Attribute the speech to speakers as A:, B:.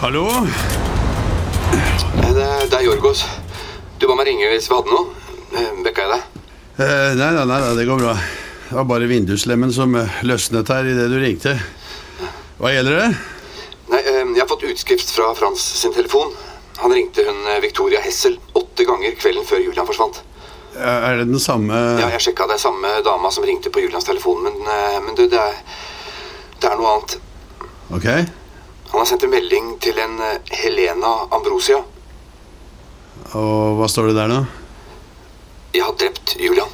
A: Hallo?
B: Eh, Det, det er Jorgos. Du ba meg ringe hvis vi hadde noe. Eh, Vekka jeg deg?
A: Eh, nei, nei, nei, nei, det går bra. Det var bare vinduslemmen som eh, løsnet her idet du ringte. Hva gjelder det?
B: Nei, eh, jeg har fått utskrift fra Frans sin telefon. Han ringte hun eh, Victoria Hessel åtte ganger kvelden før Julian forsvant.
A: Er er det den samme
B: Ja, jeg sjekka det er samme dama som ringte på Julians telefon, men, eh, men du, det er, det er noe annet.
A: Ok.
B: Han har sendt en melding til en eh, Helena Ambrosia.
A: Og hva står det der nå?
B: Jeg har drept Julian.